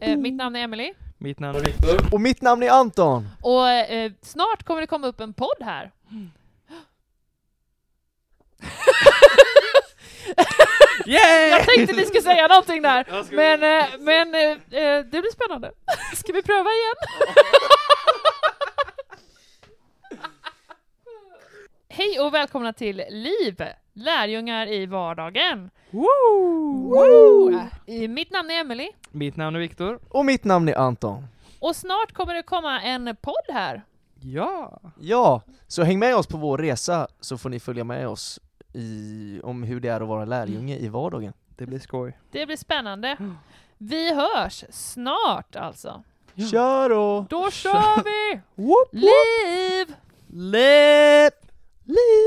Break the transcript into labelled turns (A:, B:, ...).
A: Eh, mitt namn är Emily
B: Mitt namn
C: Och
B: är
C: Viktor.
D: Och mitt namn är Anton!
A: och eh, snart kommer det komma upp en podd här. Jag
B: Yay!
A: tänkte ni skulle säga någonting där,
C: Ja, ska vi-
A: men, eh, men eh, eh, det blir spännande. Ska vi pröva igen? Hej och välkomna till LIV, Lärjungar i vardagen. Woo! Eh, Mitt namn är Emily
B: Mitt namn är Viktor.
D: Och mitt namn är Anton.
A: och snart kommer det komma en podd här.
B: Ja!
D: Ja, så häng med oss på vår resa så får ni följa med oss i, om hur det är att vara lärjunge i vardagen.
B: Det blir skoj.
A: Det blir spännande. Vi hörs snart alltså.
B: Ja.
D: Kör då!
A: Då kör vi!
B: Whoop,
A: Liv!
B: Liv!
D: Liv!